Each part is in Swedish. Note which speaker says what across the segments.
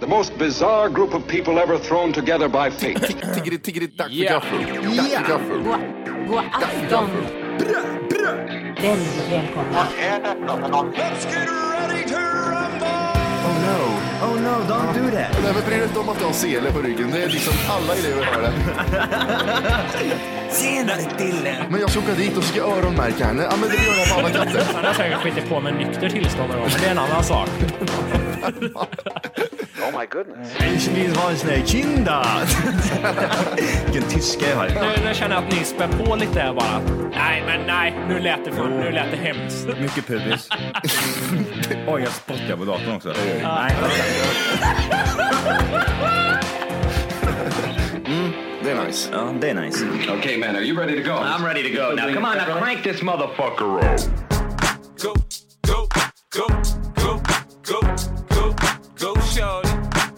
Speaker 1: The most bizarre group of people ever thrown together by fate.
Speaker 2: Tiggeri, tiggeri, dags för
Speaker 3: Ja.
Speaker 2: gaffel. Dags för gaffel.
Speaker 4: God, god afton. Väldigt välkomna.
Speaker 5: Oh no, oh no, don't do that.
Speaker 2: Nej, men bry dig inte om att jag har sele på ryggen. Det är liksom alla elever har det.
Speaker 5: Senare Dille.
Speaker 2: Men jag ska åka dit och ska öronmärka henne. Ja, men det gör jag på alla katter.
Speaker 3: Han har säkert skitit på med nykter tillstånd och det är en annan sak.
Speaker 5: Ich will was ne Kinder. Vilken tyska jag har.
Speaker 3: Nu, nu känner jag att ni spär på lite här bara. Nej, men nej, nu lät det, för, nu lät det hemskt.
Speaker 6: Mycket pubis. Oj, jag spottar på datorn också.
Speaker 2: Det är nice.
Speaker 6: Ja, det är nice.
Speaker 1: okay, man, are you ready to go?
Speaker 7: I'm ready to go now. Come on, now crank this motherfucker up.
Speaker 8: go, go, go, go, go, go, go, shawty.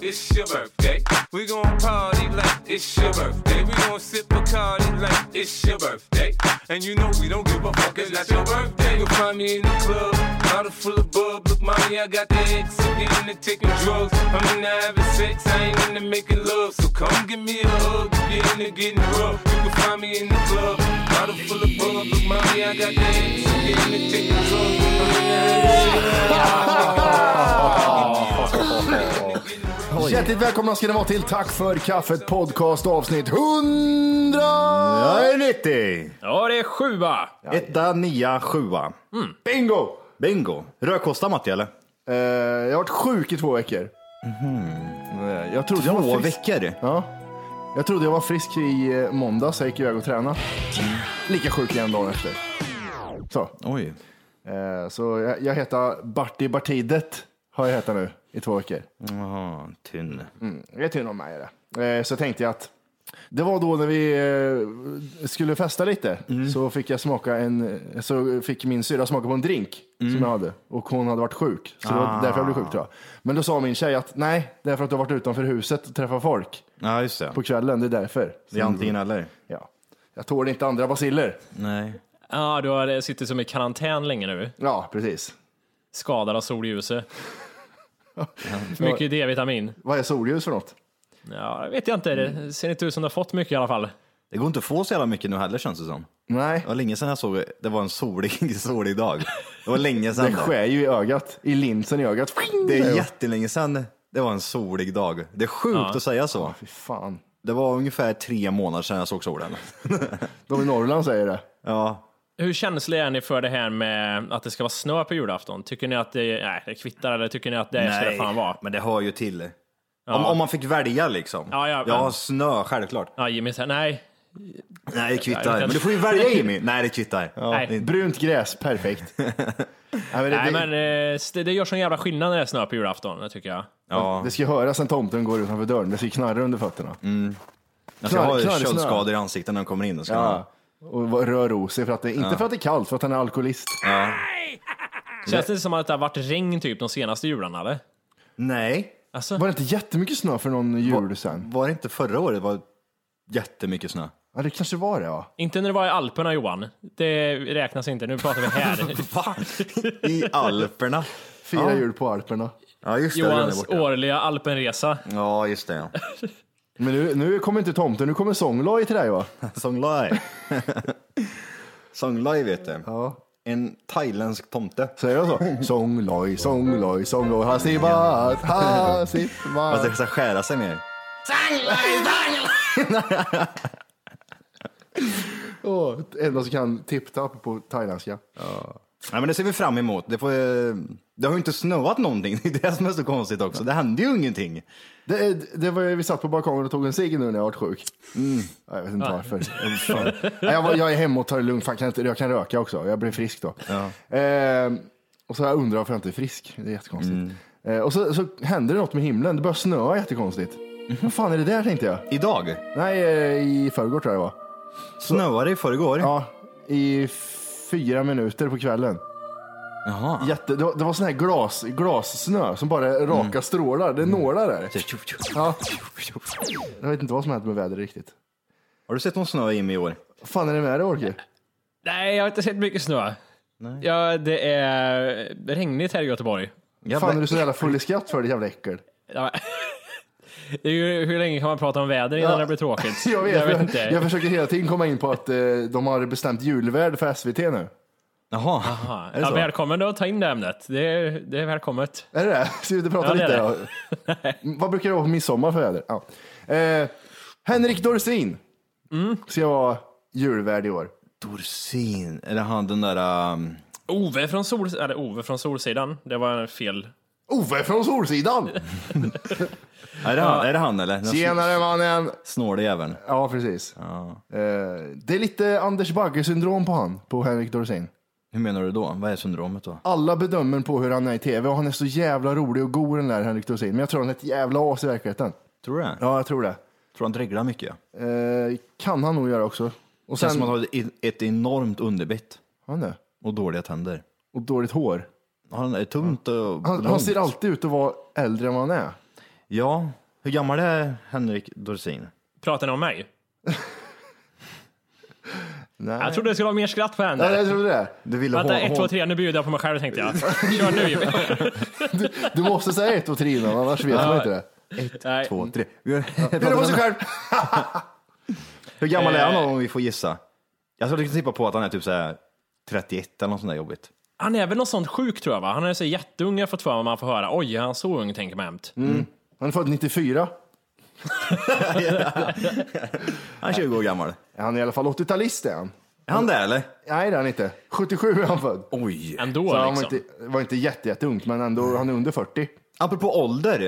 Speaker 8: It's your birthday. We gon' party like it's your birthday. We gon' sip a card like it's your birthday. And you know we don't give a fuck, it's not your birthday. You'll find me in the club, bottle full of bub. Look, mommy, I got the ex. I'm getting to taking drugs. I'm in the having sex, I ain't into making love. So come give me a hug, you get into getting rough. You can find me in the club, bottle full of bub. Look, mommy, I got the ex. I'm getting to taking drugs. I'm in the having sex.
Speaker 2: Hjärtligt välkomna ska ni vara till Tack för kaffet podcast avsnitt 100!
Speaker 6: Jag är 90!
Speaker 3: Ja, det är sjua.
Speaker 6: Etta, nia, sjua.
Speaker 2: Bingo!
Speaker 6: Bingo. Rödkosta Matti eller?
Speaker 2: Eh, jag har varit sjuk i två veckor. Jag trodde jag
Speaker 6: Två
Speaker 2: var frisk.
Speaker 6: veckor.
Speaker 2: Ja. Jag trodde jag var frisk i eh, måndags, jag gick iväg och tränade. Lika sjuk igen dagen efter. Så,
Speaker 6: Oj.
Speaker 2: eh, så jag, jag heter Barti Bartidet, har jag hetat nu i två veckor.
Speaker 6: Jaha, tunn.
Speaker 2: Det är tur om mig är det. Eh, så tänkte jag att det var då när vi eh, skulle festa lite så fick jag smaka en, så fick min syrra smaka på en drink som jag hade och hon hade varit sjuk. Så det var därför jag blev sjuk tror jag. Men då sa min tjej att nej, det är för att du har varit utanför huset och träffat folk
Speaker 6: Ja, just det.
Speaker 2: på kvällen. Det är därför. Så,
Speaker 6: Det är antingen eller.
Speaker 2: ja. Jag tål inte andra basiller.
Speaker 6: Nej.
Speaker 3: Ja, du har eh, suttit som i karantän länge nu.
Speaker 2: Ja, precis.
Speaker 3: Skadad av solljuset. För mycket D-vitamin.
Speaker 2: Vad är solljus för något?
Speaker 3: Ja, det vet jag inte. Det ser inte ut som du har fått mycket i alla fall.
Speaker 6: Det går inte att få så jävla mycket nu heller känns det som.
Speaker 2: Nej,
Speaker 6: Det var länge sedan jag såg, det var en solig, solig dag. Det var länge sedan.
Speaker 2: det
Speaker 6: då.
Speaker 2: skär ju i ögat. I linsen i ögat.
Speaker 6: Det är jättelänge sedan det var en solig dag. Det är sjukt att säga så.
Speaker 2: Fy fan.
Speaker 6: Det var ungefär tre månader sedan jag såg solen.
Speaker 2: De i Norrland säger det.
Speaker 6: Ja,
Speaker 3: Hur känsliga är ni för det här med att det ska vara snö på julafton? Tycker ni att det, nej, det kvittar eller tycker ni att det ska det fan vara?
Speaker 6: men det hör ju till. Om, om man fick välja liksom.
Speaker 3: Ja, ja,
Speaker 6: jag
Speaker 3: men-
Speaker 6: har snö, självklart.
Speaker 3: Ja, Jimmy säger nej.
Speaker 6: Nej, det
Speaker 3: Ja, det
Speaker 6: kvittar.
Speaker 3: kan-
Speaker 6: Men du får ju välja Jimmy. Nej, det kvittar.
Speaker 3: Nej.
Speaker 6: Det är inte-
Speaker 2: Brunt gräs, perfekt. Nej, men det,
Speaker 3: Nej,
Speaker 2: det,
Speaker 3: men eh, det, det gör sån jävla skillnad när det är snö på julafton, det tycker jag.
Speaker 6: Ja.
Speaker 2: det ska höras när tomten går utanför dörren. Det ska knarra under fötterna.
Speaker 6: Jag ska ha
Speaker 2: knarr, knarr,
Speaker 6: köldskador i ansiktet när de kommer in. Det Ska ja.
Speaker 2: Ja. Och vad- rör o sig, för att det, inte för att det är kallt, för att han är alkoholist.
Speaker 3: Känns det som att det har varit regn typ de senaste jularna eller?
Speaker 6: Nej,
Speaker 3: Alltså,
Speaker 2: Var det inte jättemycket snö för någon jul sen?
Speaker 6: var det inte förra året? Det var jättemycket snö.
Speaker 2: Ja, det kanske var det, ja.
Speaker 3: inte när det var i Alperna Johan. Det räknas inte, nu pratar vi här.
Speaker 6: Va? I Alperna?
Speaker 2: Fyra jul på Alperna.
Speaker 6: Ja, just det. den är
Speaker 3: Johans
Speaker 6: borta.
Speaker 3: årliga alpenresa.
Speaker 6: Ja, just det. Ja.
Speaker 2: Men nu, nu kommer inte tomten, nu kommer sångloj till dig, va?
Speaker 6: Songlai. Songlai vet du. En thailändsk tomte.
Speaker 2: Säger jag så? Sångloj, sångloj, sångloj, hasibat,
Speaker 6: Fast
Speaker 2: hasibat.
Speaker 6: det ska skära sig mer.
Speaker 2: Åh, Enda som kan tipptapp på thailändska.
Speaker 6: Nej, men det ser vi fram emot. Det, får, eh, det har ju inte snöat någonting. Det är det som är så konstigt också. Det händer ju ingenting.
Speaker 2: Det, är- det var, vi satt på balkongen och tog en cigg nu när jag var sjuk. Mm. Ja, Jag vet inte varför. Fan. Nej, jag, var, jag är hemma och tar det lugnt. Fan, kan jag, inte, jag kan röka också. Jag blir frisk då. Eh, och så har jag undrar varför jag inte är frisk. Det är jättekonstigt. Eh, och så, så händer det något med himlen. Det börjar snöa jättekonstigt. Vad fan är det där tänkte jag?
Speaker 6: Idag
Speaker 2: Nej, eh, i förrgår tror jag det var.
Speaker 6: snöade det i förrgår.
Speaker 2: Ja, i fyra minuter på kvällen.
Speaker 6: Jaha.
Speaker 2: Jätte, det var, det var sån här glas, glassnö som bara är raka
Speaker 3: Mm.
Speaker 2: strålar. Det är nålar där.
Speaker 3: Typ.
Speaker 2: Ja. Jag vet inte vad som hänt med vädret riktigt.
Speaker 6: Har du sett någon snö Jimmy i år?
Speaker 2: Vad fan är det med dig Orker?
Speaker 3: Nej, jag har inte sett mycket snö. Ja, det är regnigt här i Göteborg.
Speaker 6: Jag
Speaker 2: Fan
Speaker 6: vet-
Speaker 2: är du så jävla full i skratt för ditt jävla äckel?
Speaker 3: Ja, Det är ju, hur länge kan man prata om väder innan
Speaker 2: Ja.
Speaker 3: det blir tråkigt?
Speaker 2: Jag vet,
Speaker 3: jag vet
Speaker 2: jag,
Speaker 3: inte.
Speaker 2: jag försöker hela tiden komma in på att eh, de har bestämt julvärd för SVT nu.
Speaker 6: Jaha.
Speaker 3: Ja,
Speaker 6: Är det så?
Speaker 3: välkommen att ta in det ämnet. Det är, det är välkommet.
Speaker 2: Är det det? Ska vi inte prata
Speaker 3: Ja, det
Speaker 2: lite?
Speaker 3: är
Speaker 2: då? Vad brukar det vara på midsommar för väder? Ja. Eh, Henrik Dorsin
Speaker 3: Mm.
Speaker 2: ska vara julvärd i år.
Speaker 6: Dorsin. Är det han den där... Um...
Speaker 3: Ove från, sol, eller Ove från Solsidan. Det var en fel.
Speaker 2: Ove från Solsidan!
Speaker 6: Är, det han, är det han eller? Den
Speaker 2: Tjenare mannen!
Speaker 6: snåle jäveln.
Speaker 2: Ja, precis. Eh, det är lite Anders Bagge-syndrom på han, på Henrik Dorsin.
Speaker 6: Hur menar du då? Vad är syndromet då?
Speaker 2: Alla bedömer på hur han är i tv och han är så jävla rolig och god den där Henrik Dorsin. Men jag tror han är ett jävla as i verkligheten.
Speaker 6: Tror du det?
Speaker 2: Ja, jag tror det.
Speaker 6: Tror han dreglar mycket?
Speaker 2: Eh, kan han nog göra också. Och
Speaker 6: Känns
Speaker 2: sen...
Speaker 6: som att han har ett- ett enormt underbett
Speaker 2: Han är.
Speaker 6: och dåliga tänder.
Speaker 2: Och dåligt hår.
Speaker 6: Han är tungt och
Speaker 2: Han, han
Speaker 6: långt.
Speaker 2: ser alltid ut att vara äldre än vad han är.
Speaker 6: Ja. Hur gammal är Henrik Dorsin?
Speaker 3: Pratar ni om mig?
Speaker 2: Nej.
Speaker 3: Jag trodde det skulle vara mer skratt på
Speaker 2: Ja,
Speaker 3: henne.
Speaker 2: jag trodde det.
Speaker 6: Du ville
Speaker 3: Vänta,
Speaker 6: hå-
Speaker 3: 1,
Speaker 6: hå-
Speaker 3: 2, 3, nu bjuder jag på mig själv tänkte jag. Kör nu.
Speaker 2: Du måste säga ett och tre innan, annars vet man inte det.
Speaker 3: Nej.
Speaker 6: två, tre. Vi-
Speaker 2: Det är på sig själv.
Speaker 6: Hur gammal är han
Speaker 3: Eh.
Speaker 6: om vi får gissa? Jag skulle kunna tippa på att han är typ så här 31 eller något sånt där jobbigt.
Speaker 3: Han är väl något sånt sjuk tror jag va? Han är så jätteung, jag har fått för mig man får höra. Oj, är han så ung tänker man jämt.
Speaker 6: Mm.
Speaker 2: Han är född 94.
Speaker 6: Han är 20 år gammal.
Speaker 2: Är han i alla fall 80-talist är han.
Speaker 6: Är han det eller?
Speaker 2: Nej, det är han inte. 77 är han född.
Speaker 6: Oj.
Speaker 3: Ändå
Speaker 2: Så han var
Speaker 3: liksom.
Speaker 2: inte, var inte jätte, jätteung, men ändå, han är under 40.
Speaker 6: Apropå ålder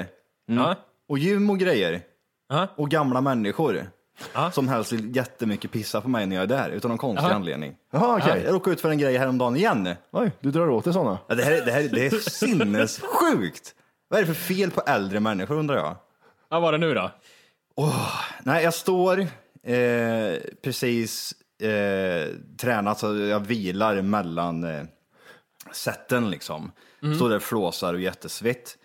Speaker 6: mm.
Speaker 3: Ja.
Speaker 6: och gym och grejer
Speaker 3: Ja.
Speaker 6: och gamla människor
Speaker 3: Ja.
Speaker 6: som helst vill jättemycket pissa på mig när jag är där utan någon konstig
Speaker 3: Ja.
Speaker 6: anledning.
Speaker 2: Jaha, okej.
Speaker 6: Jag råkade ut för en grej häromdagen igen.
Speaker 2: Oj, du drar åt dig sådana.
Speaker 6: Ja, det, här, är- det, här, är- det är sinnessjukt. Vad är det för fel på äldre människor undrar jag?
Speaker 3: Vad var det nu då?
Speaker 6: Nej, jag står eh, precis eh, tränat, så jag vilar mellan eh, sätten liksom. Står där och flåsar och är jättesvett.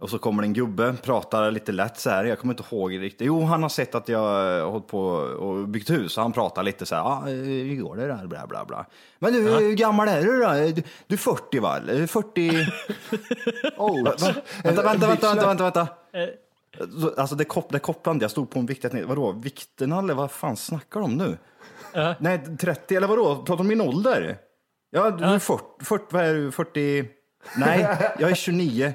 Speaker 6: Och så kommer det en gubbe, pratar lite lätt så här. Jag kommer inte ihåg riktigt. Jo, han har sett att jag eh, har hållit på och byggt hus. Så han pratar lite så här. Ah, eh, hur går det där? Bla, bla, bla. Men du, hur gammal är du då? Eh, Du, du är 40 va? Eh, 40?
Speaker 2: Oh,
Speaker 6: Vänta, vänta, vänta, vänta, vänta, vänta. Så, Alltså det, kop det kopplade inte. jag stod på en vikt, jag tänkte, vadå, vikten eller vad fan snackar de om nu? Nej, 30 eller vadå, pratar om min ålder? Ja, du är 40, 40, vad är du, 40? Nej, jag är 29.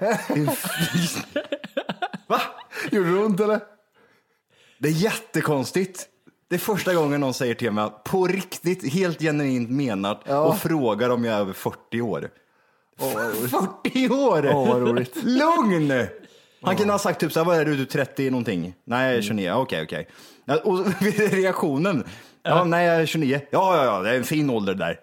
Speaker 6: Va?
Speaker 2: Gjorde det ont eller?
Speaker 6: Det är jättekonstigt. Det är första gången någon säger till mig att på riktigt, helt genuint menat och frågar om jag är över 40 år. 40 år!
Speaker 2: Åh, vad roligt.
Speaker 6: Lugn! Han kunde ha sagt typ så här, vad är du, du är 30 någonting? Nej, jag är 29, okej, okej. Ja, Och reaktionen, ja, nej, jag är 29. Ja, ja, ja, det är en fin ålder där.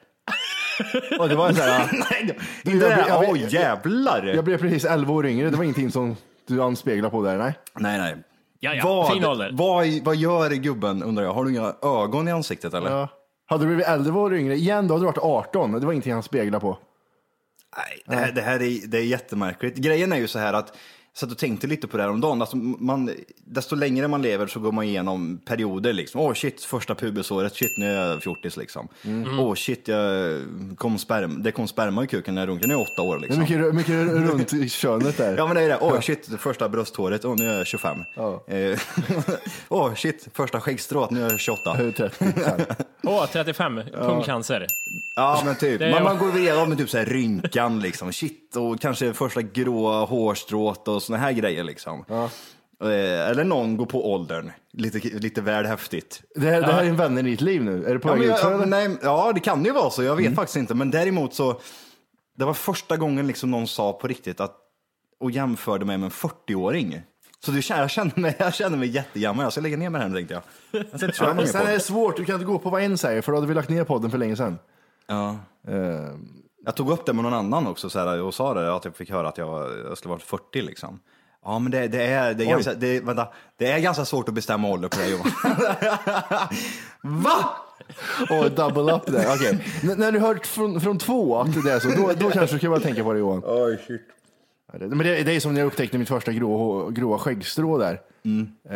Speaker 6: Och det var en sån här, nej, det
Speaker 2: jag blir- jag
Speaker 6: där,
Speaker 2: blir-
Speaker 6: åh jävlar!
Speaker 2: Jag blev precis 11 år yngre. Det var ingenting som du anspeglar på där, nej.
Speaker 6: Nej, nej.
Speaker 3: Ja, ja,
Speaker 6: Vad,
Speaker 3: fin ålder.
Speaker 6: Vad, vad gör gubben undrar jag? Har du inga ögon i ansiktet eller?
Speaker 2: Ja. Hade du blivit 11 år yngre igen, då hade du varit 18. Det var ingenting han speglade på.
Speaker 6: Nej, det här, det här är, det är jättemärkligt. Grejen är ju så här att, så att du tänkte lite på det här om dagen, alltså man, desto längre man lever så går man igenom perioder liksom. Åh shit, första pubisåret, shit nu är jag fjortis liksom. Åh
Speaker 3: Mm.
Speaker 6: shit, jag kom sperm, det kom sperma i kuken när jag runkade när jag var åtta år
Speaker 2: Det är
Speaker 6: liksom.
Speaker 2: mycket, mycket runt i könet där.
Speaker 6: Ja men det är det, åh shit, det första brösthåret, åh nu är jag 25.
Speaker 2: Ja.
Speaker 6: Eh, Åh shit, första skäggstrået, nu är jag 28.
Speaker 2: Hur 30 så här.
Speaker 3: Åh, 35, pungcancer.
Speaker 6: Ja men typ,
Speaker 3: är-
Speaker 6: man, man går igenom med typ så här rynkan liksom, shit och kanske första gråa hårstrået och såna här grejer liksom. Eh, Eller någon går på åldern, lite, lite väl häftigt.
Speaker 2: Det, här, det här är en vän i ditt liv nu. Är du på Mm. väg
Speaker 6: Ja, men
Speaker 2: ut för
Speaker 6: jag,
Speaker 2: det?
Speaker 6: nej, ja det kan ju vara så, jag vet faktiskt inte. Men däremot så, det var första gången liksom någon sa på riktigt att, och jämförde mig med en 40-åring. Så det, jag, kände mig, jag kände mig jättegammal, jag ska lägga ner mig här nu tänkte jag. Jag ska inte köra
Speaker 2: Ja, men
Speaker 6: mer
Speaker 2: sen är
Speaker 6: på.
Speaker 2: det svårt, du kan inte gå på vad en säger för då hade vi lagt ner podden för länge sedan.
Speaker 6: Ja.
Speaker 2: Eh,
Speaker 6: Jag tog upp det med någon annan också så här, och sa det, att jag fick höra att jag, jag skulle varit 40 liksom. Ja men det, det, är, det, är ganska, det, vänta, det är ganska svårt att bestämma ålder på det Johan. Va?
Speaker 2: och double up där, okej. N- När du hört från, från två att det är så, då, då kanske du kan börja tänka på det Johan.
Speaker 6: Oj, shit.
Speaker 2: Ja, det- Men det, det är som när jag upptäckte mitt första grå, gråa skäggstrå där.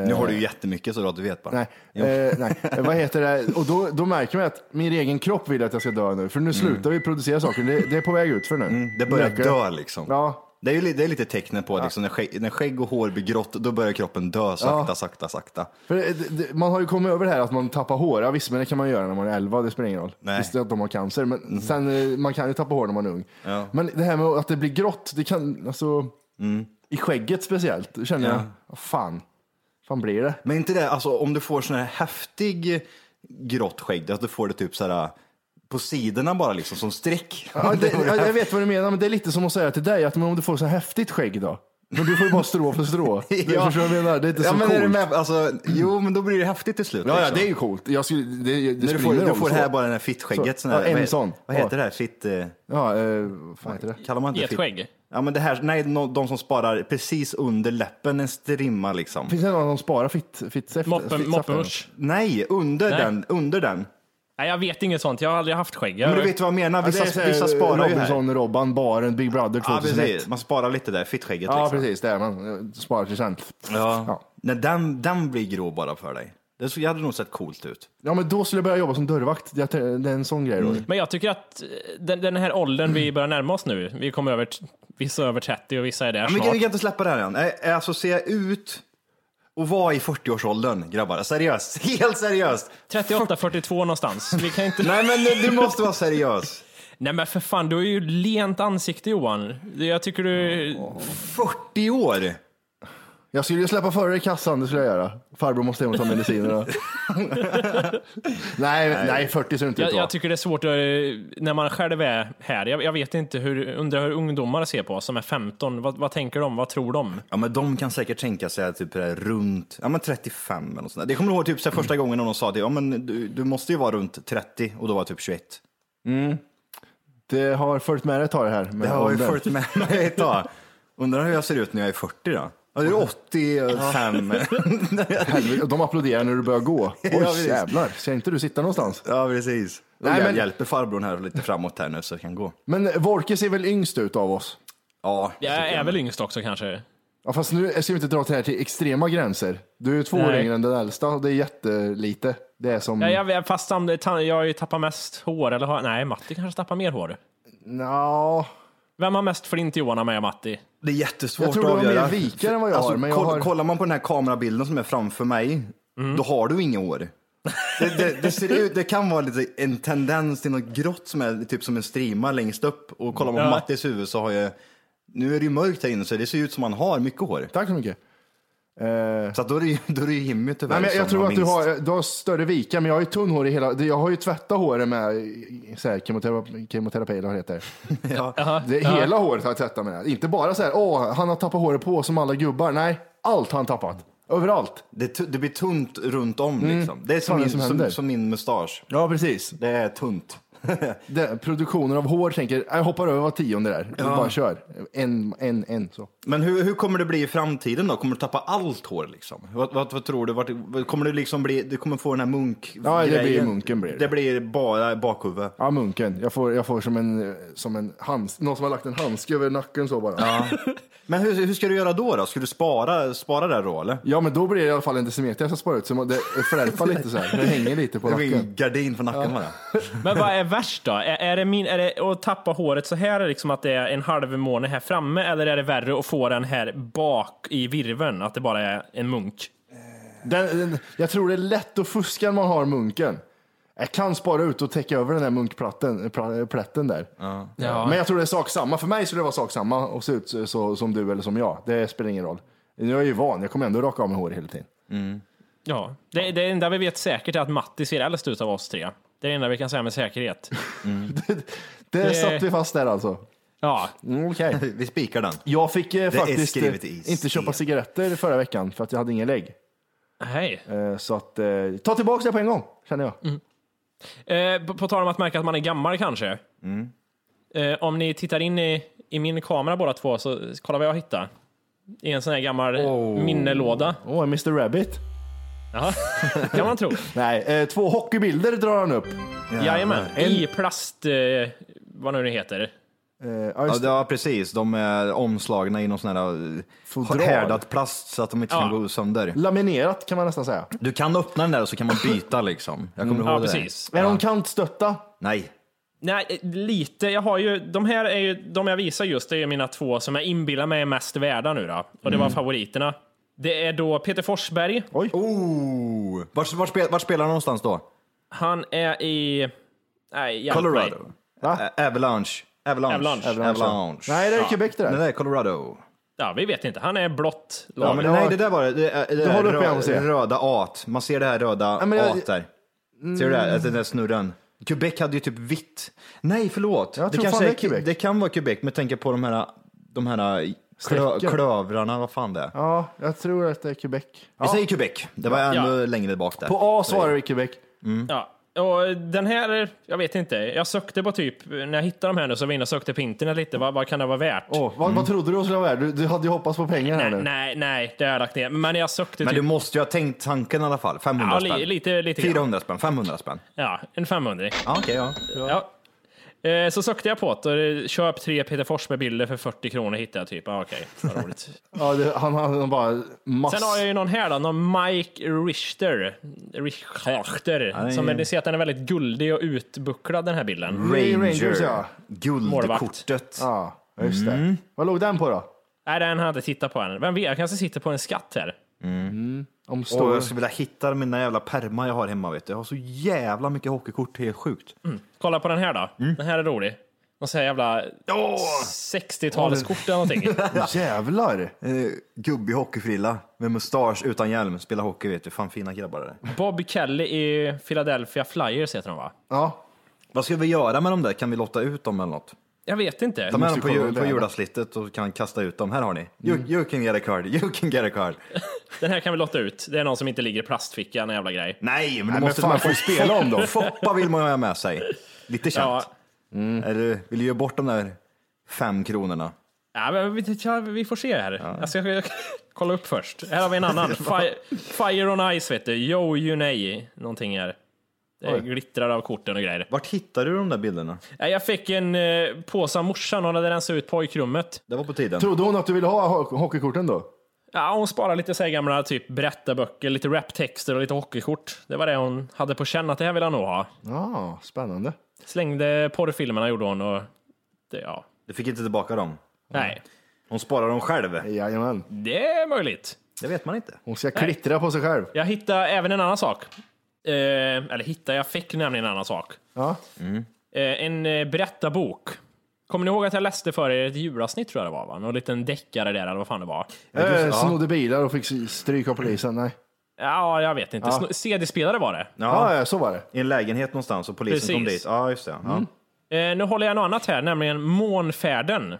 Speaker 6: Nu har du ju jättemycket så att du vet bara.
Speaker 2: Nej, eh, nej. Eh, vad heter det? Och då, då märker man att min egen kropp vill att jag ska dö nu, för nu slutar vi producera saker. Det, det är på väg ut för nu.
Speaker 6: Mm. Det börjar
Speaker 2: Märker
Speaker 6: dö liksom.
Speaker 2: Ja,
Speaker 6: Det är ju li- det är lite tecknet på att liksom, när, skägg, när skägg och hår blir grått, då börjar kroppen dö sakta,
Speaker 2: Ja.
Speaker 6: sakta, sakta.
Speaker 2: För det, det, man har ju kommit över det här att man tappar hår. Ja, visst, men det kan man göra när man är 11, det spelar ingen roll.
Speaker 6: Nej. Mhm.
Speaker 2: Visst att de har cancer, men sen, eh, man kan ju tappa hår när man är ung. Men det här med att det blir grått, det kan, alltså,
Speaker 6: Mm.
Speaker 2: i skägget speciellt, då känner jag, "Vad fan, fan blir det?
Speaker 6: Men inte det, alltså om du får sån här häftig grått skägg, att du får det typ så här på sidorna bara liksom som streck.
Speaker 2: Ja, det, ja, jag vet vad du menar, men det är lite som att säga till dig att men om du får så häftigt skägg då? Men du får ju bara strå för strå. Du
Speaker 6: Ja.
Speaker 2: förstår vad jag menar? Det är inte
Speaker 6: ja,
Speaker 2: så
Speaker 6: men
Speaker 2: coolt.
Speaker 6: är du med? Alltså, jo, men då blir det häftigt till slut.
Speaker 2: Ja, ja,
Speaker 6: liksom.
Speaker 2: det är ju coolt. Jag skulle, det, det
Speaker 6: När du
Speaker 2: spelar
Speaker 6: får,
Speaker 2: ingen
Speaker 6: du
Speaker 2: roll
Speaker 6: får
Speaker 2: så.
Speaker 6: det här bara den här fittskägget.
Speaker 2: Så.
Speaker 6: sån här-
Speaker 2: Ja, en
Speaker 6: vad-
Speaker 2: sån.
Speaker 6: Vad heter det här? Fitt... eh,
Speaker 2: Ja, eh, vad fan heter det?
Speaker 6: Kallar man inte fitt?
Speaker 3: Getskägg.
Speaker 6: Ja, men det här, nej, no- de som sparar precis under läppen, en strimma liksom.
Speaker 2: Finns det någon som sparar fitt, fitt, fitt,
Speaker 3: Moppen- Moppenmusch.
Speaker 6: Nej, under
Speaker 3: Nej.
Speaker 6: den, under den.
Speaker 3: Nej, jag vet inget sånt. Jag har aldrig haft skägg. Jag,
Speaker 6: Men du vet vad jag menar, vissa, vissa sparar ju här.
Speaker 2: eh, Robinson, Robban, Baren, Big Brother
Speaker 6: Ja,
Speaker 2: 2001.
Speaker 6: precis. Man sparar lite där, fittskägget
Speaker 2: Ja,
Speaker 6: liksom.
Speaker 2: precis. Det är man. eh, Sparar till sen.
Speaker 6: Ja.
Speaker 2: Ja.
Speaker 6: När den, den blir grå bara för dig. Det så- hade nog sett coolt ut.
Speaker 2: Ja, men då skulle jag börja jobba som dörrvakt. Det är det är en sån grej. då.
Speaker 6: Mm.
Speaker 3: Men jag tycker att eh, den, den här åldern vi börjar närma oss nu, vi kommer över, t- vissa är över 30 och vissa är där
Speaker 6: Men vi
Speaker 3: snart.
Speaker 6: kan, vi kan inte släppa det här än. Ä- Alltså se ut och vara i 40-årsåldern, grabbar. Seriöst, helt seriöst.
Speaker 3: 38, 42 någonstans. Vi kan inte...
Speaker 6: Nej, men du måste vara seriös.
Speaker 3: Nej men för fan, du har ju lent ansikte Johan. Jag tycker du...
Speaker 6: 40 år!
Speaker 2: Jag skulle ju släppa före dig i kassan, det skulle jag göra. Farbror måste hem och ta medicinerna. nej, nej, 40 ser det inte ut
Speaker 3: Jag,
Speaker 2: att
Speaker 3: jag
Speaker 2: vara.
Speaker 3: tycker det är svårt att, eh, när man själv är här. Jag, jag vet inte hur, undrar hur ungdomar ser på oss som är 15. Vad, vad tänker de? Vad tror de?
Speaker 6: Ja, men de kan säkert tänka sig att typ det här runt ja, men 35 eller något sånt där. Det kommer jag ihåg typ, så här,
Speaker 2: Mm.
Speaker 6: första gången någon sa det. Ja, men du, du måste ju vara runt 30 och då var jag typ 21.
Speaker 2: Det har följt med dig ett tag det här. Med
Speaker 6: Det har ju
Speaker 2: åldern.
Speaker 6: följt med mig ett tag. Undrar hur jag ser ut när jag är 40 då? Ja, det är 85.
Speaker 2: Helvete, De applåderar när du börjar gå. Oj,
Speaker 6: visst.
Speaker 2: jävlar. Ser inte du sitta någonstans?
Speaker 6: Ja, precis.
Speaker 2: Nej,
Speaker 6: jag
Speaker 2: men-
Speaker 6: hjälper farbrorn här lite framåt här nu så jag kan gå.
Speaker 2: Men Vorke ser väl yngst ut av oss?
Speaker 6: Ja,
Speaker 3: Jag Mm. är väl yngst också kanske.
Speaker 2: Ja, fast nu ska vi inte dra till här till extrema gränser. Du är ju två år
Speaker 3: Nej.
Speaker 2: yngre än den äldsta och det är jättelite. Det är som...
Speaker 3: Ja, jag, jag- fast sam- ta- jag har ju tappat mest hår, eller har, nej, Matti kanske tappar mer hår.
Speaker 2: Nja.
Speaker 3: Vem har mest flint Johan av mig och Matti?
Speaker 6: det är jättesvårt
Speaker 2: Jag tror
Speaker 6: att
Speaker 2: du har mer
Speaker 6: avgöra.
Speaker 2: vikar än vad jag har, men jag
Speaker 6: koll-
Speaker 2: har- Mm.
Speaker 6: Kollar man på den här kamerabilden som är framför mig, då har du inga år. Det, det, det, ser ut, det kan vara lite en tendens till något grått som är typ som en strima längst upp. Och kollar man på
Speaker 3: Ja.
Speaker 6: Mattis huvud så har jag, nu är det ju mörkt här inne så det ser ut som han har mycket hår.
Speaker 2: Tack så mycket. Eh,
Speaker 6: Så att då är det ju, då är det ju Jimmy tyvärr
Speaker 2: nej, men jag,
Speaker 6: som
Speaker 2: jag tror att du
Speaker 6: minst.
Speaker 2: har, du har större vikar, men jag har ju tunn hår i hela... Jag har ju tvättat håret med så här, kemoterapi, kemoterapi eller vad det heter.
Speaker 3: Jaha,
Speaker 2: Det,
Speaker 3: ja.
Speaker 2: Hela håret har jag tvättat med. Inte bara så här, åh, han har tappat håret på som alla gubbar. Nej, allt har han tappat. Överallt.
Speaker 6: det, tu- det blir tunt runt om liksom. Det är som
Speaker 2: Mm. Fan, det
Speaker 6: min,
Speaker 2: som
Speaker 6: som,
Speaker 2: händer.
Speaker 6: som min mustasch.
Speaker 2: Ja, precis.
Speaker 6: Det är tunt.
Speaker 2: Det, produktionen av hår tänker, jag hoppar över var tionde där. Bara kör. En, en, en. Så.
Speaker 6: Men hur, hur kommer det bli i framtiden då? Kommer du tappa allt hår liksom? Vad, vad, vad tror du? Vart, vad- kommer du liksom bli, du kommer få den här munk
Speaker 2: Ja, det blir munken blir det.
Speaker 6: Det blir bara bakhuvud.
Speaker 2: Ja, munken. Jag får, jag får som en, som en hands, någon som har lagt en handske över nacken så bara. Ja.
Speaker 6: Men hur, hur ska du göra då? då? Ska du spara, spara det här då eller?
Speaker 2: men då blir det i alla fall en decimeter jag ska spara ut. Så man- det flärpar lite så här. Det hänger lite på
Speaker 6: Det blir
Speaker 2: nacken.
Speaker 6: en gardin för nacken bara.
Speaker 3: Men vad är värst då? Är, är, det min, är det att tappa håret så här, liksom att det är en halv måne här framme, eller är det värre att få den här bak i virveln, att det bara är en munk?
Speaker 2: Den, den, jag tror det är lätt att fuska när man har munken. Jag kan spara ut och täcka över den där munkplätten pra- plätten där.
Speaker 3: Ja.
Speaker 2: Men jag tror det är sak samma. För mig skulle det vara sak samma och se ut så, så, som du eller som jag. Det spelar ingen roll. Nu är jag ju van. Jag kommer ändå raka av mig håret hela tiden.
Speaker 3: Ja, det, det enda vi vet säkert är att Matti ser äldst ut av oss tre. Det är det enda vi kan säga med säkerhet.
Speaker 2: Det
Speaker 3: Det-
Speaker 2: satt vi fast där alltså.
Speaker 3: Ja,
Speaker 2: Mm, Okej.
Speaker 6: Vi spikar den.
Speaker 2: Jag fick eh,
Speaker 6: är
Speaker 2: faktiskt eh,
Speaker 6: skrivet i
Speaker 2: inte
Speaker 6: sten.
Speaker 2: köpa cigaretter förra veckan för att jag hade inga lägg.
Speaker 3: hej.
Speaker 2: Eh, Så att, eh, ta tillbaka det på en gång, känner jag.
Speaker 6: Mm.
Speaker 3: Eh, på, på tal om att märka att man är gammal kanske. Eh, om ni tittar in i, i min kamera båda två så kolla vad jag hittar. I en sån här gammal minnelåda.
Speaker 2: Åh, Mr Rabbit.
Speaker 3: Jaha, kan man tro.
Speaker 2: Nej, eh, två hockeybilder drar han upp. Eh,
Speaker 3: Jajamän, i plast... Eh, vad nu det heter.
Speaker 2: Eh, ja,
Speaker 6: Ja,
Speaker 2: just,
Speaker 6: det- ja precis, de är omslagna i någon sån här eh,
Speaker 2: Fodral.
Speaker 6: härdat plast så att de inte kan
Speaker 3: Ja.
Speaker 6: gå sönder.
Speaker 2: Laminerat kan man nästan säga.
Speaker 6: Du kan öppna den där och så kan man byta liksom. Jag kommer ihåg
Speaker 3: Mm. Ja,
Speaker 6: det. där.
Speaker 3: precis.
Speaker 2: Är de kantstötta?
Speaker 6: Nej.
Speaker 3: Nej, eh, lite. Jag har ju, de här är ju, de jag visar just, det är ju mina två som jag inbillar mig är mest värda nu då. Och det var favoriterna. Det är då Peter Forsberg.
Speaker 6: Oh! Vart, vart, spel, vart spelar han någonstans då?
Speaker 3: Han är i... Nej, hjälp mig.
Speaker 6: Colorado? Ä- Avalanche. Avalanche.
Speaker 3: Avalanche.
Speaker 6: Avalanche.
Speaker 2: Nej, det är Quebec det
Speaker 6: Nej,
Speaker 2: där.
Speaker 6: det är Colorado.
Speaker 3: Ja, vi vet inte. Han är blått lag.
Speaker 6: Ja, men
Speaker 2: Ja.
Speaker 6: Nej, det där var det. det, är- det
Speaker 2: Du
Speaker 6: där
Speaker 2: håller upp
Speaker 6: rö-
Speaker 2: igen och ser.
Speaker 6: röda at. Man ser det här röda
Speaker 2: men jag- Mm.
Speaker 6: at där. Ser du det? här? Alltså, den där snurran. Quebec hade ju typ vitt. Nej, förlåt.
Speaker 2: Jag
Speaker 6: det,
Speaker 2: tror
Speaker 6: kanske
Speaker 2: fan det är
Speaker 6: är Ke-
Speaker 2: Quebec.
Speaker 6: det kan vara Quebec, men tänker på de här, de här klö,
Speaker 2: Strecken.
Speaker 6: klövrarna, vad fan det är.
Speaker 2: Ja, jag tror att det är Quebec.
Speaker 6: Vi säger Quebec. Det var ännu längre bak där.
Speaker 2: På A svarar vi Quebec.
Speaker 3: Ja. Och den här, jag vet inte. Jag sökte på typ, när jag hittade de här nu så var jag inne och sökte på internet lite. Vad, vad kan det vara värt?
Speaker 2: Åh, vad,
Speaker 6: Mm.
Speaker 2: vad trodde du skulle vara värd? Du, du hade ju hoppats på pengar här
Speaker 3: nej,
Speaker 2: nu.
Speaker 3: nej, nej, det har jag lagt ner. Men jag sökte
Speaker 6: Men du
Speaker 3: typ
Speaker 6: måste ju ha tänkt tanken i alla fall. 500
Speaker 3: ja,
Speaker 6: spänn.
Speaker 3: li, lite, lite grann.
Speaker 6: 400 spänn, 500 spänn.
Speaker 3: Ja, en 500.
Speaker 6: Ja, okej, ja.
Speaker 3: Ja. Eh, Så sökte jag på det. Köp tre Peter Forsberg-bilder för 40 kronor hittade jag typ. Ah, Okej, vad roligt.
Speaker 2: Ja, det, han, han, han bara mass...
Speaker 3: Sen har jag ju någon här då, någon Mike Richter. Richter.
Speaker 6: är- Mm.
Speaker 3: Som är, ni ser att den är väldigt guldig och utbucklad den här bilden.
Speaker 2: Ray
Speaker 6: Ranger.
Speaker 2: Rangers, ja.
Speaker 6: Guldkortet.
Speaker 2: Ja, just det.
Speaker 6: Mm.
Speaker 2: Vad låg den på då?
Speaker 3: Nej, den har jag inte tittat på än. Vem vet, jag kanske sitter på en skatt här.
Speaker 2: Om
Speaker 6: Åh,
Speaker 2: stor...
Speaker 6: jag skulle vilja hitta mina jävla pärmar jag har hemma. Vet du. Jag har så jävla mycket hockeykort, helt sjukt.
Speaker 2: Mm.
Speaker 3: Kolla på den här då. Den här är rolig. Någon sån här jävla 60-talskort eller någonting.
Speaker 2: Jävlar!
Speaker 6: Eh, gubbig hockeyfrilla med mustasch utan hjälm, spelar hockey vet du. Fan fina grabbar det där.
Speaker 3: Bob Kelly i Philadelphia Flyers heter de va?
Speaker 2: Ja,
Speaker 6: Vad ska vi göra med dem där? Kan vi lotta ut dem eller något?
Speaker 3: Jag vet inte.
Speaker 6: Ta med dem på,
Speaker 2: kolla
Speaker 6: ju,
Speaker 2: det Mm.
Speaker 6: på
Speaker 2: där.
Speaker 6: julaslitet och kan kasta ut dem. Här har ni. You, you can get a card, you can get a card.
Speaker 3: Den här kan vi lotta ut. Det är någon som inte ligger i plastfickan, en jävla grej.
Speaker 6: Nej, men
Speaker 2: Nej,
Speaker 6: du
Speaker 2: men
Speaker 6: måste
Speaker 2: fan,
Speaker 6: man
Speaker 2: får
Speaker 6: få
Speaker 2: vi spela om dem?
Speaker 6: Foppa vill man ju ha med sig. Lite
Speaker 3: Ja,
Speaker 6: känt. Eller vill du ge bort de där fem kronorna?
Speaker 3: ja men vi, ja, vi får se här. Alltså, Jag ska kolla upp först. Här har vi en annan. Fire, Fire on Ice vet du. Yo Yunei, någonting här. Det glittrar av korten och grejer.
Speaker 6: Vart hittade du de där bilderna?
Speaker 3: Nej, Jag fick en eh, påse av morsan. Hon hade rensat ut pojkrummet.
Speaker 6: Det var på tiden.
Speaker 2: trodde hon att du ville ha ho- hockeykorten då?
Speaker 3: Ja, hon sparar lite så här gamla typ berättarböcker, lite raptexter och lite hockeykort. Det var det hon hade på känn att det här vill jag nog ha.
Speaker 2: Ja, spännande.
Speaker 3: Slängde porrfilmerna gjorde hon och det, ja.
Speaker 6: Du fick inte tillbaka dem.
Speaker 3: Nej,
Speaker 6: Hon sparar dem själv.
Speaker 2: Jajamän.
Speaker 3: det är möjligt.
Speaker 6: Det vet man inte.
Speaker 2: Hon ska klittra på sig själv.
Speaker 3: Jag hittade även en annan sak. Eh, eller hittade, jag fick nämligen en annan sak.
Speaker 2: Ja.
Speaker 3: Eh, en eh, berättarbok. Kommer ni ihåg att jag läste för er ett julavsnitt tror jag det var? Va? Någon liten deckare där eller vad fan det var.
Speaker 2: Eh, snodde bilar och fick stryk av polisen. Nej.
Speaker 3: Ja, jag vet inte. Sno- CD-spelare var det.
Speaker 2: Ja, ja, så var det.
Speaker 6: I en lägenhet någonstans och polisen
Speaker 3: Precis.
Speaker 6: kom dit. Ja, just det. Ja.
Speaker 3: Eh, nu håller jag något annat här, nämligen Månfärden.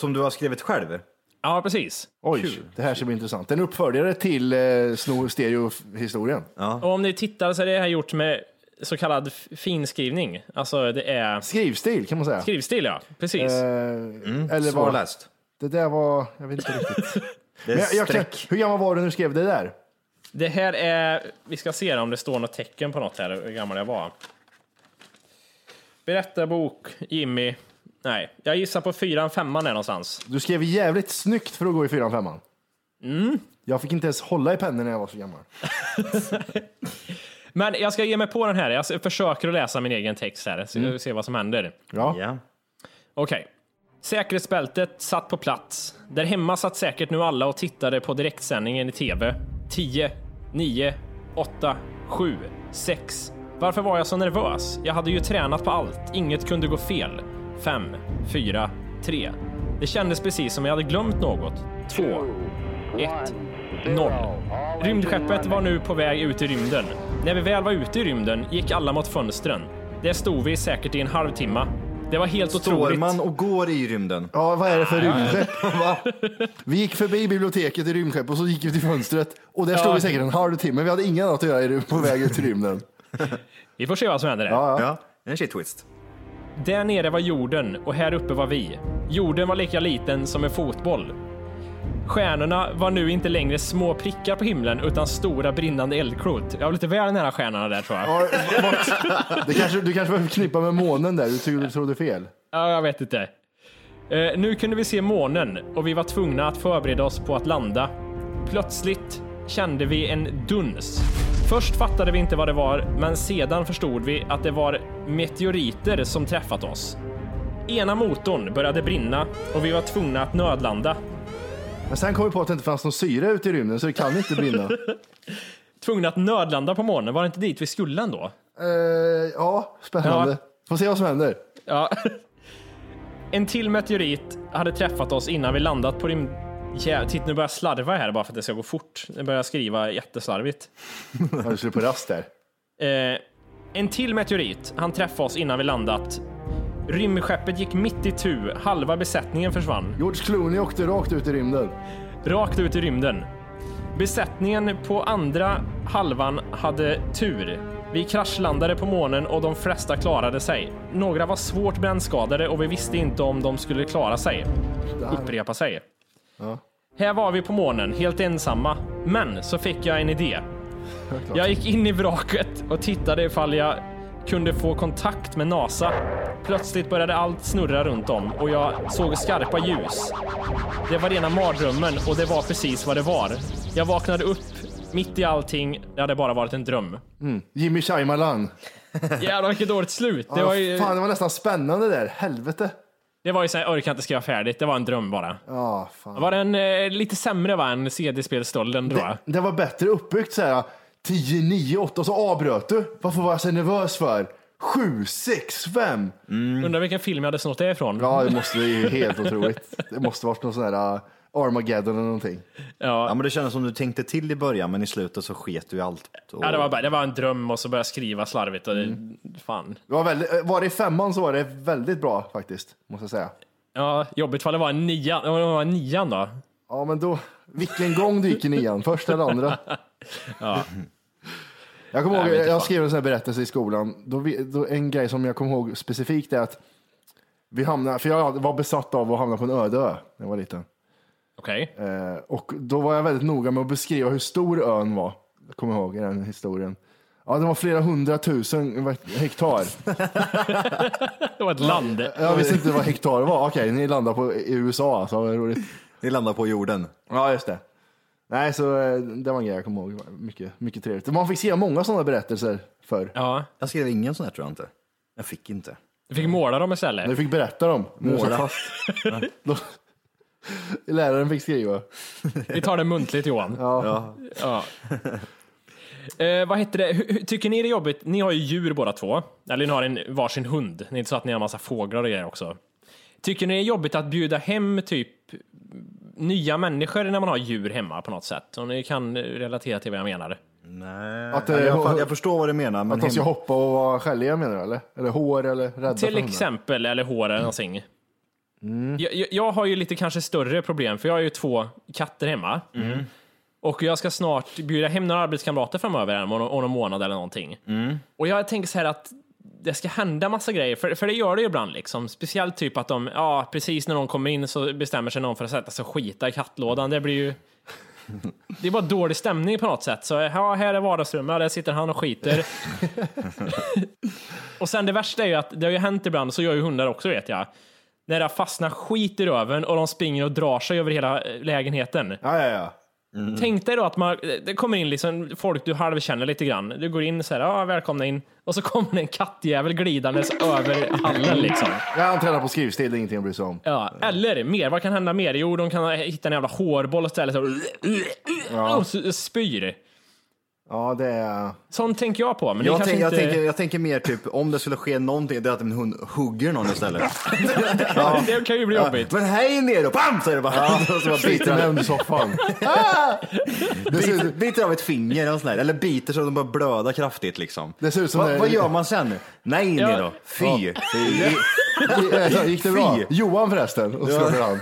Speaker 6: Som du har skrivit själv.
Speaker 3: Ja, precis.
Speaker 2: Oj, det här ska bli intressant. En uppföljare till eh, Sno Stereo-historien.
Speaker 3: Och om ni tittar så är det här gjort med så kallad f- finskrivning. Alltså det är
Speaker 2: Skrivstil kan man säga.
Speaker 3: skrivstil ja, precis.
Speaker 2: Eh, eller vad?
Speaker 6: Svårläst.
Speaker 2: Det där var, jag vet inte riktigt.
Speaker 6: Det är
Speaker 2: Men jag, jag kan,
Speaker 6: streck.
Speaker 2: hur gammal var du när du skrev det där?
Speaker 3: Det här är, vi ska se om det står något tecken på något här, hur gammal jag var. Berätta bok, Jimmy. Nej, jag gissar på fyran, femman är någonstans.
Speaker 2: Du skrev jävligt snyggt för att gå i fyran, femman. Jag fick inte ens hålla i pennan när jag var så gammal.
Speaker 3: Men jag ska ge mig på den här, jag s- försöker att läsa min egen text här, så vi ser vad som händer.
Speaker 2: Ja.
Speaker 6: Ja.
Speaker 3: Okej. Säkerhetsbältet satt på plats. Där hemma satt säkert nu alla och tittade på direktsändningen i TV. 10, 9, 8, 7, 6. Varför var jag så nervös? Jag hade ju tränat på allt. Inget kunde gå fel. 5, 4, 3. Det kändes precis som jag hade glömt något. 2, 1, 0. Rymdskeppet var nu på väg ut i rymden. När vi väl var ute i rymden gick alla mot fönstren. Där stod vi säkert i en halvtimme. Det var helt
Speaker 6: Står
Speaker 3: otroligt.
Speaker 6: man och går i rymden?
Speaker 2: Ja, vad är det för rymdskepp? Va? Vi gick förbi biblioteket i rymdskepp och så gick vi till fönstret och där stod vi säkert en halvtimme. Vi hade inget annat att göra i rum- på väg ut i rymden.
Speaker 3: Vi får se vad som händer där.
Speaker 6: Ja. Det är en shit twist.
Speaker 3: Där nere var jorden och här uppe var vi. Jorden var lika liten som en fotboll. Stjärnorna var nu inte längre små prickar på himlen utan stora brinnande eldklot. Jag var lite väl nära stjärnorna där tror jag.
Speaker 2: Ja, vart- det kanske, du kanske var förknippad med månen där, du trodde, trodde fel.
Speaker 3: Ja, jag vet inte. Eh, nu kunde vi se månen och vi var tvungna att förbereda oss på att landa. Plötsligt kände vi en duns. Först fattade vi inte vad det var, men sedan förstod vi att det var meteoriter som träffat oss. Ena motorn började brinna och vi var tvungna att nödlanda.
Speaker 2: Men sen kom vi på att det inte fanns någon syre ute i rymden så det kan inte brinna.
Speaker 3: Tvungna att nödlanda på morgonen, var det inte dit vi skulle ändå?
Speaker 2: Eh, ja, spännande.
Speaker 3: Ja.
Speaker 2: Får se vad som händer.
Speaker 3: Ja. En till meteorit hade träffat oss innan vi landat på rymd... Jä- Titta, nu börjar jag slarva här bara för att det ska gå fort. Nu börjar jag skriva jätteslarvigt.
Speaker 2: Ja, du skulle på rast där.
Speaker 3: Eh, en till meteorit han träffade oss innan vi landat. Rymdskeppet gick mitt i tu, halva besättningen försvann.
Speaker 2: George Clooney åkte rakt ut i rymden.
Speaker 3: Rakt ut i rymden. Besättningen på andra halvan hade tur. Vi kraschlandade på månen och de flesta klarade sig. Några var svårt brännskadade och vi visste inte om de skulle klara sig. Upprepa sig. Här var vi på månen, helt ensamma. Men så fick jag en idé. Jag gick in i vraket och tittade ifall jag kunde få kontakt med NASA. Plötsligt började allt snurra runt om och jag såg skarpa ljus. Det var rena mardrömmen och det var precis vad det var. Jag vaknade upp mitt i allting. Det hade bara varit en dröm.
Speaker 2: Jimmy Shyamalan.
Speaker 3: Jävlar vilket dåligt slut. Det
Speaker 2: Ja,
Speaker 3: var ju,
Speaker 2: Fan, det var nästan spännande där. Helvete.
Speaker 3: det var ju såhär, jag orkar inte skriva färdigt. Det var en dröm bara.
Speaker 2: Ja, fan.
Speaker 3: Var den eh, lite sämre va, än CD-spelsstölden tror jag?
Speaker 2: Det, det var bättre uppbyggt så här. 10, 9, 8 och så avbröt du. Varför var jag så nervös för? 7, 6, 5.
Speaker 3: Undrar vilken film jag hade snott det ifrån.
Speaker 2: Mm. Ja, det måste det är ju helt otroligt. Det måste varit någon sån här uh, Armageddon eller någonting.
Speaker 6: Ja, men det kändes som du tänkte till i början, men i slutet så sket du i allt. Och...
Speaker 3: Ja, det, var bara, det var en dröm och så började jag skriva slarvigt. Och det,
Speaker 2: Mm.
Speaker 3: Fan.
Speaker 2: Det var, väldigt, eh, var det i femman så var det väldigt bra faktiskt, måste jag säga.
Speaker 3: Ja, jobbigt fall det var en nian. Det var en nian då.
Speaker 2: Ja, men då, vilken gång du gick i nian, första eller andra? Jag kommer ihåg,
Speaker 3: men inte
Speaker 2: jag
Speaker 3: fan.
Speaker 2: skrev en sån här berättelse i skolan. Då, vi- då, en grej som jag kommer ihåg specifikt är att vi hamnade, för jag var besatt av att hamna på en öde ö när jag var liten.
Speaker 3: Okej.
Speaker 2: Eh, och då var jag väldigt noga med att beskriva hur stor ön var. Jag kommer ihåg i den historien. Ja, det var flera hundratusen hektar.
Speaker 3: Det var ett land.
Speaker 2: Jag visste inte vad hektar var. Okej, ni landar på i USA alltså. Vad roligt.
Speaker 6: Ni landar på jorden.
Speaker 2: Ja, just det. Nej, så eh, det var en grej jag kommer ihåg. Mycket, mycket trevligt. Man fick se många sådana berättelser förr.
Speaker 3: Ja.
Speaker 6: Jag skrev ingen sån här tror jag inte. Jag fick inte.
Speaker 3: Du fick måla dem istället.
Speaker 2: Du fick berätta dem. Nu satt
Speaker 6: Måla.
Speaker 2: fast. Då- Läraren fick skriva.
Speaker 3: Vi tar det muntligt Johan.
Speaker 2: Ja.
Speaker 3: Ja. Eh, vad heter det? Hur- hur- Tycker ni det är jobbigt? Ni har ju djur båda två. Eller ni har en varsin hund. Det är inte så att ni har massa fåglar och grejer också. Tycker ni det är jobbigt att bjuda hem typ nya människor när man har djur hemma på något sätt? Om ni kan relatera till vad jag menar.
Speaker 6: Nej.
Speaker 2: Att,
Speaker 6: Att,
Speaker 2: eh,
Speaker 6: jag, fa- jag förstår vad du menar, men
Speaker 2: Att de ska
Speaker 6: hem...
Speaker 2: hoppa och vara skälliga menar du eller? Eller hår eller rädda för
Speaker 3: Till
Speaker 2: hundar?
Speaker 3: exempel, eller hår eller någonting. Jag, jag, jag har ju lite kanske större problem, för jag har ju två katter hemma. Och jag ska snart bjuda hem några arbetskamrater framöver, här om någon, om någon månad eller någonting. Och jag tänker så här att det ska hända massa grejer, för, för det gör det ju ibland. Liksom. Speciellt typ att de, ja, precis när någon kommer in så bestämmer sig någon för att sätta sig och skita i kattlådan. Det blir ju... Det är bara dålig stämning på något sätt. Så ja, här är vardagsrummet, ja, där sitter han och skiter. Och sen det värsta är ju att det har ju hänt ibland, så gör ju hundar också vet jag. När det fastnar skit i röven och de springer och drar sig över hela eh, lägenheten.
Speaker 2: Ja, ja, ja.
Speaker 6: Mm.
Speaker 3: Tänk dig då att man, eh, det kommer in liksom folk du halvkänner lite grann. Du går in så här, ja välkomna in. Och så kommer det en kattjävel glidandes över hallen liksom.
Speaker 2: Ja, han tränar på skrivstil, det är ingenting att bry sig om.
Speaker 3: Ja, eller mer, vad kan hända mer? Jo, de kan hitta en jävla hårboll och ställa sig och, och så spyr.
Speaker 2: Ja, det är...
Speaker 3: Sånt tänker jag på, men det
Speaker 6: jag,
Speaker 3: kanske
Speaker 6: tänk, jag,
Speaker 3: inte...
Speaker 6: tänker, jag tänker mer typ, om det skulle ske någonting, det är att en hund hugger någon istället.
Speaker 3: Det kan ju bli jobbigt.
Speaker 6: Men hej ner och bam! Så är det bara. Ja, så bara
Speaker 2: Sitter
Speaker 6: biter,
Speaker 2: med
Speaker 6: av,
Speaker 2: under soffan.
Speaker 6: biter, biter av ett finger eller, sån där, eller biter så att de börjar blöda kraftigt liksom.
Speaker 2: Det ser ut som det-
Speaker 6: Va, vad gör man sen? Nej, in
Speaker 3: Ja.
Speaker 6: i då. Fy. fy.
Speaker 2: Gick det bra?
Speaker 6: Fy.
Speaker 2: Johan förresten. Och så slår han.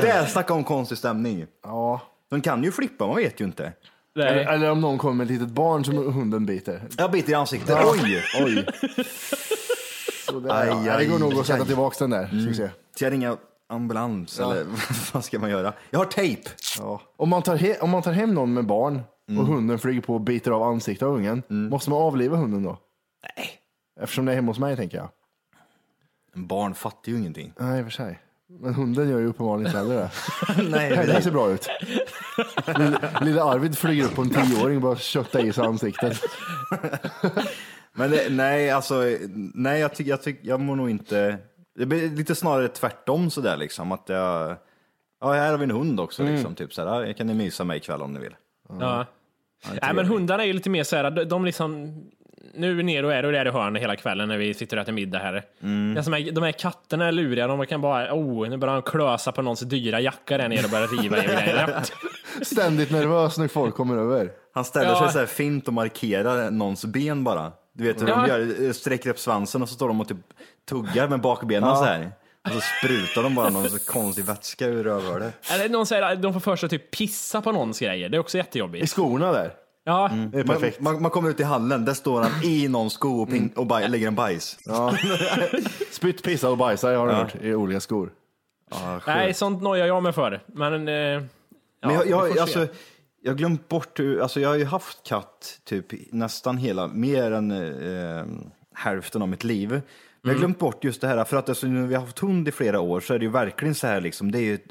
Speaker 6: Det, snacka om konstig stämning.
Speaker 2: Ja.
Speaker 6: De kan ju flippa, man vet ju inte.
Speaker 3: Nej.
Speaker 2: Eller, eller om någon kommer med ett litet barn som hunden biter.
Speaker 6: Jag biter i ansiktet. Oj!
Speaker 2: Oj. Sådär,
Speaker 6: Aj,
Speaker 2: ja. Nej, det går
Speaker 6: aj,
Speaker 2: nog att sätta
Speaker 6: aj.
Speaker 2: tillbaka den där. Ska vi se.
Speaker 6: Ska jag ringa ambulans eller vad ska man göra? Jag har tejp.
Speaker 2: Ja. Om, man tar he- om man tar hem någon med barn och hunden flyger på och biter av ansiktet av ungen, måste man avliva hunden då? Nej. Eftersom det är hemma hos mig tänker jag.
Speaker 6: Barn fattar ju ingenting.
Speaker 2: Nej, i och för sig. Men hunden gör ju uppenbarligen inte heller det.
Speaker 6: Nej,
Speaker 2: Nej, det här ser bra ut. Lille- Lilla Arvid flyger upp på en tioåring och bara köttar i sig ansiktet.
Speaker 6: Men det, nej, alltså, nej, jag, tyck, jag, tyck, jag mår nog inte... Det blir lite snarare tvärtom sådär liksom. Att jag, ja, här har vi en hund också
Speaker 2: Mm.
Speaker 6: liksom. Typ sådär, ja, kan ni mysa mig ikväll om ni vill.
Speaker 3: Ja. Nej, men hundarna är ju lite mer så här, de- de liksom... Nu ner och är och där i hörnet hela kvällen när vi sitter och äter middag här. Det är som här de här katterna är luriga, de kan bara, oh, nu börjar de klösa på någons dyra jacka där nere och börjar riva i grejer.
Speaker 2: Ständigt nervös när folk kommer över.
Speaker 6: Han ställer
Speaker 3: Ja.
Speaker 6: sig såhär fint och markerar någons ben bara. Du vet hur
Speaker 3: Ja.
Speaker 6: de gör, eh, sträcker upp svansen och så står de och typ tuggar med bakbenen så såhär. Och så sprutar de bara någon så konstig vätska ur rövhålet.
Speaker 3: Eller någon säger att de får för sig att typ pissa på någons grejer, det är också
Speaker 2: I
Speaker 3: jättejobbigt.
Speaker 2: skorna där.
Speaker 3: Ja,
Speaker 2: Det är
Speaker 6: Man,
Speaker 2: perfekt. Mm.
Speaker 6: man, man kommer ut i hallen, där står han i någons sko och, pin- och baj, lägger en bajs.
Speaker 2: Spytt, pissa och bajsa jag har hört i olika skor.
Speaker 3: nej, sånt nojar jag mig för. Men, eh, ja,
Speaker 6: Men jag,
Speaker 3: vi får
Speaker 6: jag,
Speaker 3: se.
Speaker 6: alltså, jag har glömt bort hur, alltså jag har ju haft katt typ nästan hela, mer än eh, hälften av mitt liv. Men jag
Speaker 3: Mm.
Speaker 6: har glömt bort just det här, för att alltså, nu när vi har haft hund i flera år så är det ju verkligen så här liksom, det är ju ett,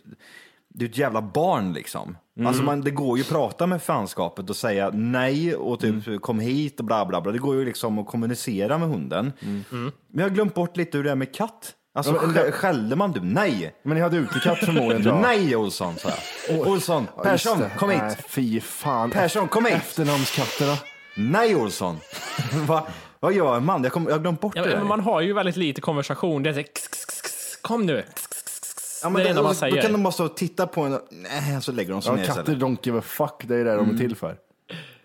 Speaker 6: det är ett jävla barn liksom.
Speaker 3: Mm.
Speaker 6: Alltså man, det går ju att prata med fanskapet och säga nej och typ
Speaker 3: Mm.
Speaker 6: kom hit och bla bla bla. Det går ju liksom att kommunicera med hunden.
Speaker 3: Mm.
Speaker 6: Men jag har glömt bort lite hur det är med katt. Alltså skä- skällde man du nej?
Speaker 2: Men ni hade utekatt förmodligen. tror jag.
Speaker 6: Nej Olsson sa jag. Olsson,
Speaker 2: Ja, just
Speaker 6: Persson,
Speaker 2: det.
Speaker 6: kom hit.
Speaker 2: Nej, fy fan.
Speaker 6: Persson, kom hit.
Speaker 2: Efternamnskatterna.
Speaker 6: Nej Olsson. Va? Vad gör en man? Jag, kom, jag har glömt bort
Speaker 3: ja,
Speaker 6: det där.
Speaker 3: men man har ju väldigt lite konversation. Det är så här, "Kss, kss, kss, kom nu. Kss, kss,
Speaker 6: ja,
Speaker 3: det är det enda man
Speaker 6: och
Speaker 3: säger.
Speaker 6: Då kan de bara stå och titta på en och nej, så lägger de sig
Speaker 2: Ja,
Speaker 6: ner
Speaker 2: katter
Speaker 6: istället.
Speaker 2: don't give a fuck, det är det de är till för.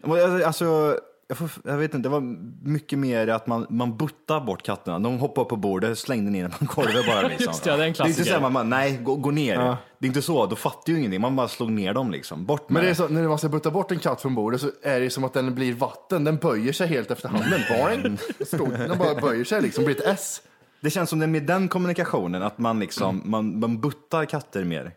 Speaker 6: Och jag- Alltså, jag, får, jag vet inte, det var mycket mer att man, man buttar bort katterna. De hoppar upp på bordet, slängde ner dem på golvet bara. Liksom.
Speaker 3: Just det, ja, det är en
Speaker 6: Det är inte
Speaker 3: klassiker.
Speaker 6: så här, man bara, nej, gå, gå ner. Det är inte så, då fattar ju ingenting. Man bara slog ner dem liksom. Bort med
Speaker 2: Men det är så, när man ska putta bort en katt från bordet så är det som att den blir vatten, den böjer sig helt efter handen. Boing! Stor- Den bara böjer sig liksom, blir ett S.
Speaker 6: Det känns som det är med den kommunikationen, att man liksom, man, man buttar katter mer.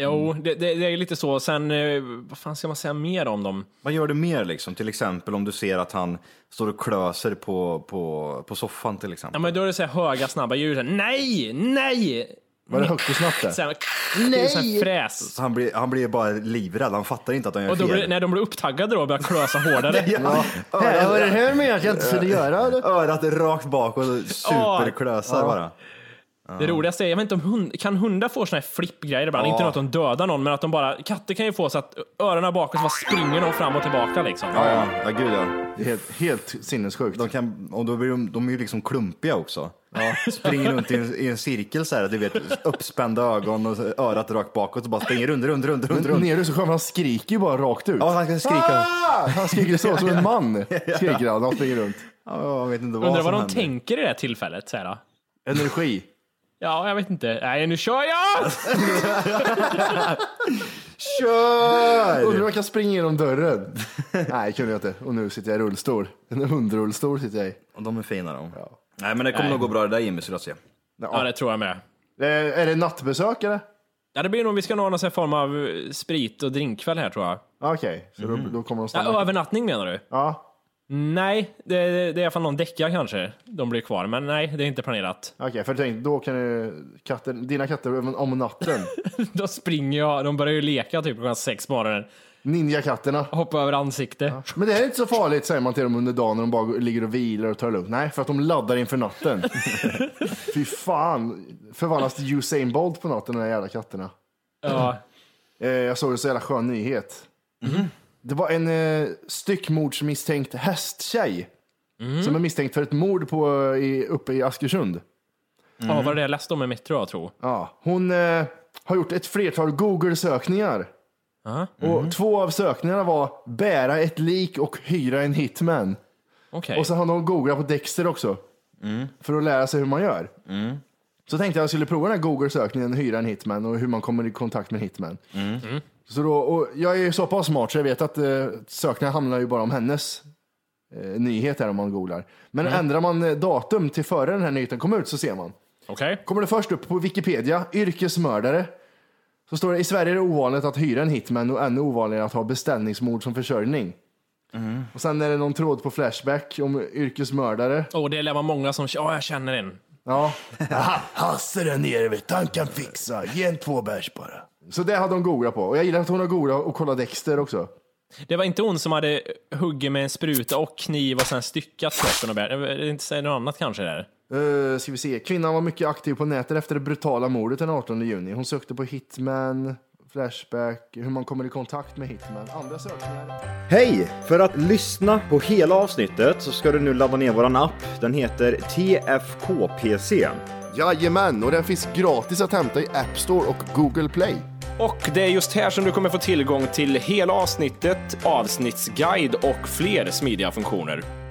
Speaker 3: Jo, det, det, det är lite så. Sen, eh, vad fan ska man säga mer om dem?
Speaker 6: Vad gör du mer liksom? Till exempel om du ser att han står och klöser på, på, på soffan till exempel.
Speaker 3: Ja, men då är det så här höga, snabba ljud. Så här, Nej, nej!
Speaker 2: Var det högt och snabbt det?
Speaker 3: Så här, det är så här fräs.
Speaker 6: Så han blir, han blir bara livrädd, han fattar inte att han gör
Speaker 3: Och då
Speaker 6: fel.
Speaker 3: blir, när de blir upptaggade då och börjar klösa hårdare.
Speaker 6: Ja.
Speaker 2: Här, var det
Speaker 6: Örat,
Speaker 2: här med att jag inte skulle göra det?
Speaker 6: örat rakt bak och superklösar bara.
Speaker 3: Det roligaste är, jag vet inte om hund, kan hundar få såna här flippgrejer ibland? Inte något att de dödar någon, men att de bara, katter kan ju få så att öronen bakåt så bara springer de fram och tillbaka liksom.
Speaker 6: Ja, ja. ja gud ja.
Speaker 2: Det är Helt, helt sinnessjukt.
Speaker 6: De, kan, och då blir de, de är ju liksom klumpiga också. Springer runt i en, i en cirkel så här, du vet, uppspända ögon och så örat rakt bakåt och bara springer runt, runt, runt, runt, runt.
Speaker 2: Nere så skönt, han skriker ju bara rakt ut.
Speaker 6: Ja, han kan skrika.
Speaker 2: Ah! Han skriker så, som en man. Skriker han, han springer runt.
Speaker 6: Ja, jag vet inte vad
Speaker 3: Undrar vad
Speaker 6: som
Speaker 3: de
Speaker 6: händer.
Speaker 3: tänker i det här tillfället. Så här, då.
Speaker 2: Energi.
Speaker 3: ja, jag vet inte. Nej, nu kör jag!
Speaker 6: Kör!
Speaker 2: Undrar om jag kan springa genom dörren. Nej, kunde jag inte. Och nu sitter jag i rullstol. En hundrullstol sitter jag i.
Speaker 6: Och de är fina de. Nej men det kommer nog gå bra det där Jimmy, så jag se.
Speaker 3: Ja, det tror jag med.
Speaker 2: Eh, är det nattbesök eller?
Speaker 3: Ja, det blir nog, vi ska nog ha någon sån här form av eh, sprit och drinkkväll här tror jag.
Speaker 2: Ah, Okej, så
Speaker 6: Mm.
Speaker 2: då, då kommer de stanna.
Speaker 3: Ja, övernattning menar du?
Speaker 2: Ja,
Speaker 3: Nej, det, det är i alla fall någon däcka kanske. De blir kvar, men nej, det är inte planerat.
Speaker 2: okej, för tänk, då kan du, katter, dina katter även om natten,
Speaker 3: Då springer jag, de börjar ju leka typ klockan sex på morgonen.
Speaker 2: ninjakatterna.
Speaker 3: Hoppa över ansikte.
Speaker 2: Men det här är inte så farligt säger man till dem under dagen när de bara går- ligger och vilar och tar det lugnt. Nej, för att de laddar inför natten. Fy fan, förvandlas till Usain Bolt på natten de här jävla katterna.
Speaker 3: Ja.
Speaker 2: Eh, jag såg en så jävla skön nyhet. Det var en eh, styckmordsmisstänkt hästtjej som är misstänkt för ett mord på, eh, i, uppe i Askersund.
Speaker 3: Ja, vad var det jag läste om i mitt tror jag, tror.
Speaker 2: Ja, hon eh, har gjort ett flertal Google-sökningar. Och två av sökningarna var bära ett lik och hyra en hitman.
Speaker 3: Okej.
Speaker 2: Och så har hon googlat på Dexter också. För att lära sig hur man gör. Så tänkte jag att jag skulle prova den här Google-sökningen, hyra en hitman och hur man kommer i kontakt med en hitman. Så då, och jag är ju så pass smart så jag vet att eh, sökningar handlar ju bara om hennes eh, nyhet här om man googlar. Men ändrar man eh, datum till före den här nyheten kom ut så ser man.
Speaker 3: Okej.
Speaker 2: Kommer det först upp på Wikipedia, yrkesmördare. Så står det i Sverige är det ovanligt att hyra en hitman och ännu ovanligare att ha beställningsmord som försörjning. Och sen är det någon tråd på Flashback om yrkesmördare.
Speaker 3: Åh, det lär vara många som, ja, jag känner en.
Speaker 2: Ja.
Speaker 5: Hasse där nere vet han kan fixa. Ge en två bärs bara.
Speaker 2: Så det hade hon Gora på. Och jag gillar att hon har Gora och kollar Dexter också.
Speaker 3: Det var inte hon som hade huggit med en spruta och kniv och sen styckat kroppen och bär. Är det inte säger något annat kanske där?
Speaker 2: Uh, ska vi se. Kvinnan var mycket aktiv på nätet efter det brutala mordet den 18 juni. Hon sökte på Hitman, Flashback, hur man kommer i kontakt med Hitman. Andra sökningar.
Speaker 6: Hej! För att lyssna på hela avsnittet så ska du nu ladda ner våran app. Den heter TFKPC.
Speaker 2: Jajamän, och den finns gratis att hämta i App Store och Google Play.
Speaker 4: Och det är just här som du kommer få tillgång till hela avsnittet, avsnittsguide och fler smidiga funktioner.